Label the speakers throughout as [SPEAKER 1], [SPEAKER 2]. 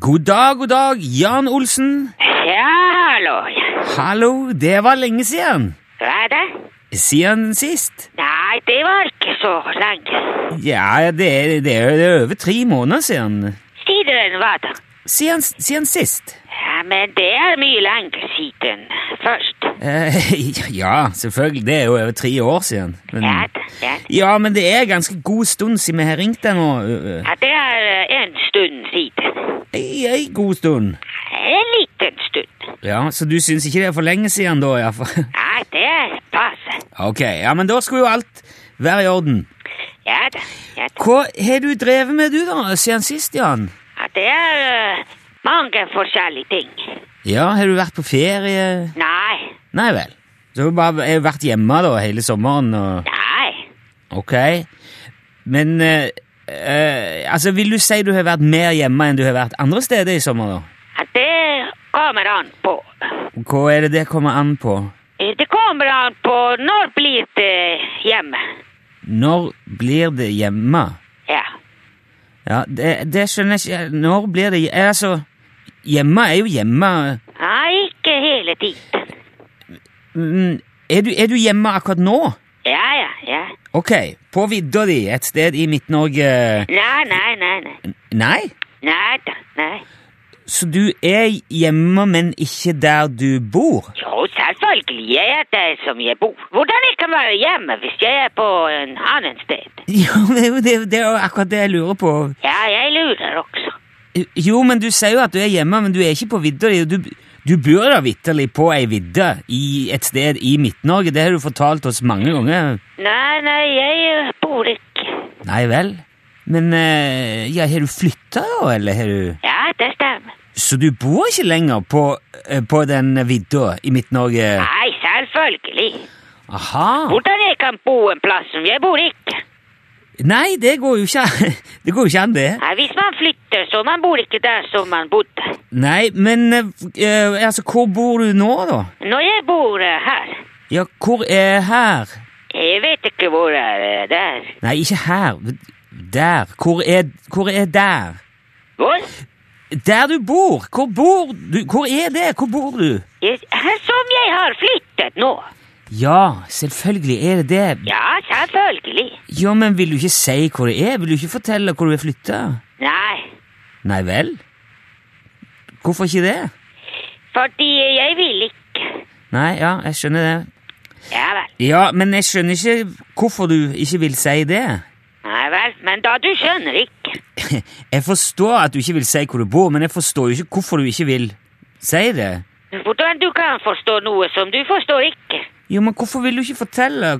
[SPEAKER 1] God dag, god dag, Jan Olsen.
[SPEAKER 2] Ja, hallo. ja.
[SPEAKER 1] Hallo, det var lenge siden.
[SPEAKER 2] Hva er det?
[SPEAKER 1] Siden sist.
[SPEAKER 2] Nei, det var ikke så lenge.
[SPEAKER 1] Ja, det er, det er det er over tre måneder siden.
[SPEAKER 2] Siden hva da?
[SPEAKER 1] Siden, siden sist.
[SPEAKER 2] Ja, men det er mye lenger siden først.
[SPEAKER 1] Eh, ja, selvfølgelig, det er jo over tre år siden. Men,
[SPEAKER 2] Ja, da, ja.
[SPEAKER 1] ja, men det er ganske god stund siden vi har ringt deg nå. ø, ø.
[SPEAKER 2] ja det er eh, en stund siden.
[SPEAKER 1] Ei, ei god stund.
[SPEAKER 2] En liten stund.
[SPEAKER 1] Ja, Så du syns ikke det er for lenge siden, da? i hvert fall?
[SPEAKER 2] Nei, det er passe.
[SPEAKER 1] Ok, ja, men da skulle jo alt være i orden.
[SPEAKER 2] Ja da, ja da.
[SPEAKER 1] Hva har du drevet med, du, da, siden sist, Jan?
[SPEAKER 2] Ja, det er eh, mange forskjellige ting.
[SPEAKER 1] Ja, har du vært på ferie?
[SPEAKER 2] Nei,
[SPEAKER 1] Nei vel. Så har du bare jeg har vært hjemme da hele sommeren og
[SPEAKER 2] nei.
[SPEAKER 1] Ok. Men eh, eh, Altså, vil du si du har vært mer hjemme enn du har vært andre steder i sommer, da?
[SPEAKER 2] Ja, det kommer an på.
[SPEAKER 1] Hva er det det kommer an på?
[SPEAKER 2] Eh, Det kommer an på når blir det hjemme.
[SPEAKER 1] Når blir det hjemme?
[SPEAKER 2] Ja.
[SPEAKER 1] Ja, det, det skjønner jeg ikke Når blir det eh, Altså, hjemme er jo hjemme
[SPEAKER 2] Nei, ikke hele tiden.
[SPEAKER 1] Mm, er, du, er du hjemme akkurat nå?
[SPEAKER 2] Ja, ja, ja.
[SPEAKER 1] Ok, på vidda di, et sted i Midt-Norge
[SPEAKER 2] Nei, nei, nei, nei.
[SPEAKER 1] Nei?
[SPEAKER 2] Nei da, nei.
[SPEAKER 1] Så du er hjemme, men ikke der du bor?
[SPEAKER 2] Jo, selvfølgelig. Jeg er der som jeg bor. Hvordan jeg kan være hjemme hvis jeg er på en annen sted?
[SPEAKER 1] Ja, men det, er jo- det, er jo- det er jo akkurat det jeg lurer på.
[SPEAKER 2] Ja, jeg lurer også.
[SPEAKER 1] Jo, men du sier jo at du er hjemme, men du er ikke på vidda di. og Du, du bor da vitterlig på ei vidde i et sted i Midt-Norge. Det har du fortalt oss mange ganger.
[SPEAKER 2] Nei, nei, jeg eh, bor ikke.
[SPEAKER 1] Nei vel? Men eh, ja, har du flytta, da, eller har du
[SPEAKER 2] Ja, det stemmer.
[SPEAKER 1] Så du bor ikke lenger på, eh, på den vidda i Midt-Norge?
[SPEAKER 2] Nei, selvfølgelig.
[SPEAKER 1] Aha.
[SPEAKER 2] Hvordan jeg kan bo en plass som jeg bor ikke?
[SPEAKER 1] Nei, det går jo ikke an, det. Går jo ikke an, det.
[SPEAKER 2] Nei, hvis man flytter, så man bor ikke der som man bodde.
[SPEAKER 1] Nei, men eh, eh, altså, hvor bor du nå, da?
[SPEAKER 2] Når jeg bor eh, her,
[SPEAKER 1] Ja, hvor er her?
[SPEAKER 2] jeg vet ikke hvor er eh, det er.
[SPEAKER 1] Nei, ikke her. Der. Hvor er, hvor er der?
[SPEAKER 2] Hvor?
[SPEAKER 1] Der du bor! Hvor bor du? Hvor er det? Hvor bor du?
[SPEAKER 2] Jeg, som jeg har flyttet nå.
[SPEAKER 1] Ja, selvfølgelig er det det.
[SPEAKER 2] Ja, selvfølgelig.
[SPEAKER 1] Ja, men vil du ikke si hvor det er? Vil du ikke fortelle hvor du har flytta?
[SPEAKER 2] Nei,
[SPEAKER 1] Nei vel? Hvorfor ikke det?
[SPEAKER 2] fordi jeg vil ikke.
[SPEAKER 1] Nei, ja, jeg skjønner det.
[SPEAKER 2] Ja vel.
[SPEAKER 1] Ja, men jeg skjønner ikke hvorfor du ikke vil si det.
[SPEAKER 2] Nei vel, men da du skjønner ikke.
[SPEAKER 1] Jeg forstår at du ikke vil si hvor du bor, men jeg forstår jo ikke hvorfor du ikke vil si det.
[SPEAKER 2] Hvordan du kan forstå noe som du forstår ikke?
[SPEAKER 1] Jo, men hvorfor vil du ikke fortelle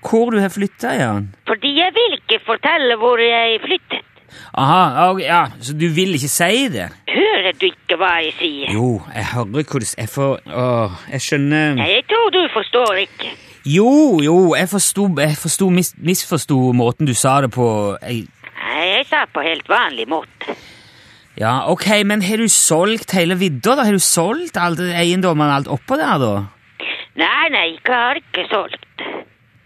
[SPEAKER 1] hvor du har flytta, Jan?
[SPEAKER 2] Fordi jeg vil ikke fortelle hvor jeg flyttet.
[SPEAKER 1] Aha, ok, ja, så du vil ikke si det?
[SPEAKER 2] Hører du ikke hva jeg sier?
[SPEAKER 1] Jo, jeg hører hvor du s- Jeg får Åh, jeg skjønner
[SPEAKER 2] Nei, jeg tror du forstår ikke.
[SPEAKER 1] Jo, jo, jeg forsto Jeg forsto mis, misforsto måten du sa det på. Jeg,
[SPEAKER 2] Nei, jeg sa på helt vanlig måte.
[SPEAKER 1] ja, ok, men har du solgt hele vidda, da? Har du solgt alle de eiendommene alt oppå der, da?
[SPEAKER 2] Nei, nei, jeg har ikke solgt.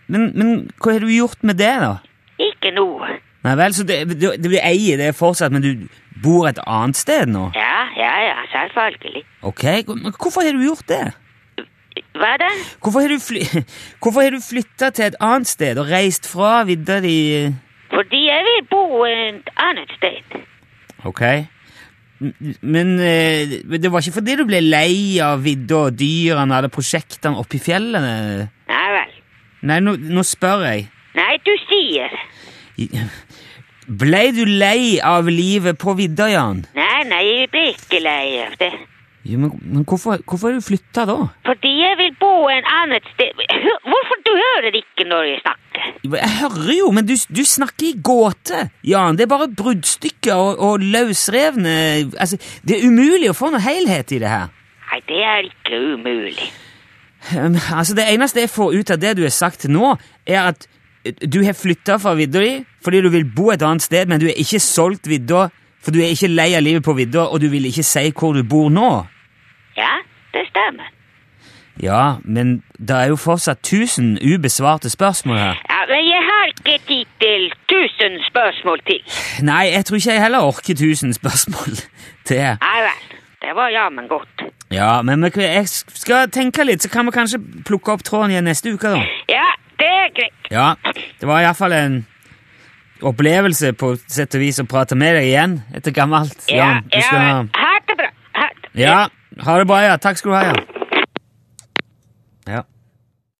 [SPEAKER 1] Men, men hva har du gjort med det, da?
[SPEAKER 2] Ikke noe.
[SPEAKER 1] Nei vel, så det, du, du eier det fortsatt, men du bor et annet sted nå?
[SPEAKER 2] Ja, ja, ja, selvfølgelig.
[SPEAKER 1] Ok, men hvorfor har du gjort det?
[SPEAKER 2] Hva da?
[SPEAKER 1] Hvorfor har du, fly Hvorfor har du flytta til et annet sted og reist fra vidda di
[SPEAKER 2] Fordi jeg vil bo et annet sted.
[SPEAKER 1] Ok. M- Men eh, men det var ikke fordi du ble lei av vidda og dyrene eller prosjektene oppi fjellene?
[SPEAKER 2] Nei vel.
[SPEAKER 1] Nei, nå, nå spør jeg.
[SPEAKER 2] Nei, du sier.
[SPEAKER 1] I- Ble du lei av livet på vidda, Jan?
[SPEAKER 2] Nei, nei, jeg blir ikke lei av det.
[SPEAKER 1] Jo, men, men hvorfor, hvorfor har du flytta da?
[SPEAKER 2] Fordi jeg vil bo et annet sted. Hø- Hvorfor du hører ikke når jeg snakker?
[SPEAKER 1] Jeg hører jo, men du, du snakker i gåte, Jan. Det er bare bruddstykker og, og løsrevne Altså, det er umulig å få noe helhet i det her.
[SPEAKER 2] Nei, det er ikke umulig.
[SPEAKER 1] Um, altså Det eneste jeg får ut av det du har sagt til nå, er at eh, du har flytta fra vidda di fordi du vil bo et annet sted, men du har ikke solgt vidda, for du er ikke lei av livet på vidda, og du vil ikke si hvor du bor nå.
[SPEAKER 2] Ja, det stemmer.
[SPEAKER 1] Ja, men det er jo fortsatt 1000 ubesvarte spørsmål her.
[SPEAKER 2] Ja, men jeg har ikke tid til tusen spørsmål til.
[SPEAKER 1] Nei, jeg tror ikke jeg heller orker tusen spørsmål til.
[SPEAKER 2] Nei vel. Det var jammen godt.
[SPEAKER 1] Ja, men vi- jeg skal tenke litt, så kan vi kanskje plukke opp tråden igjen neste uke, da.
[SPEAKER 2] Ja, det er greit.
[SPEAKER 1] Ja, det var iallfall en opplevelse på sett og vis å prate med deg igjen etter gammelt.
[SPEAKER 2] Ja,
[SPEAKER 1] du skal
[SPEAKER 2] ja.
[SPEAKER 1] ha...
[SPEAKER 2] Ha det bra. Ha det.
[SPEAKER 1] Ja, ha det bra, ja. Takk skal du ha, ja. ja.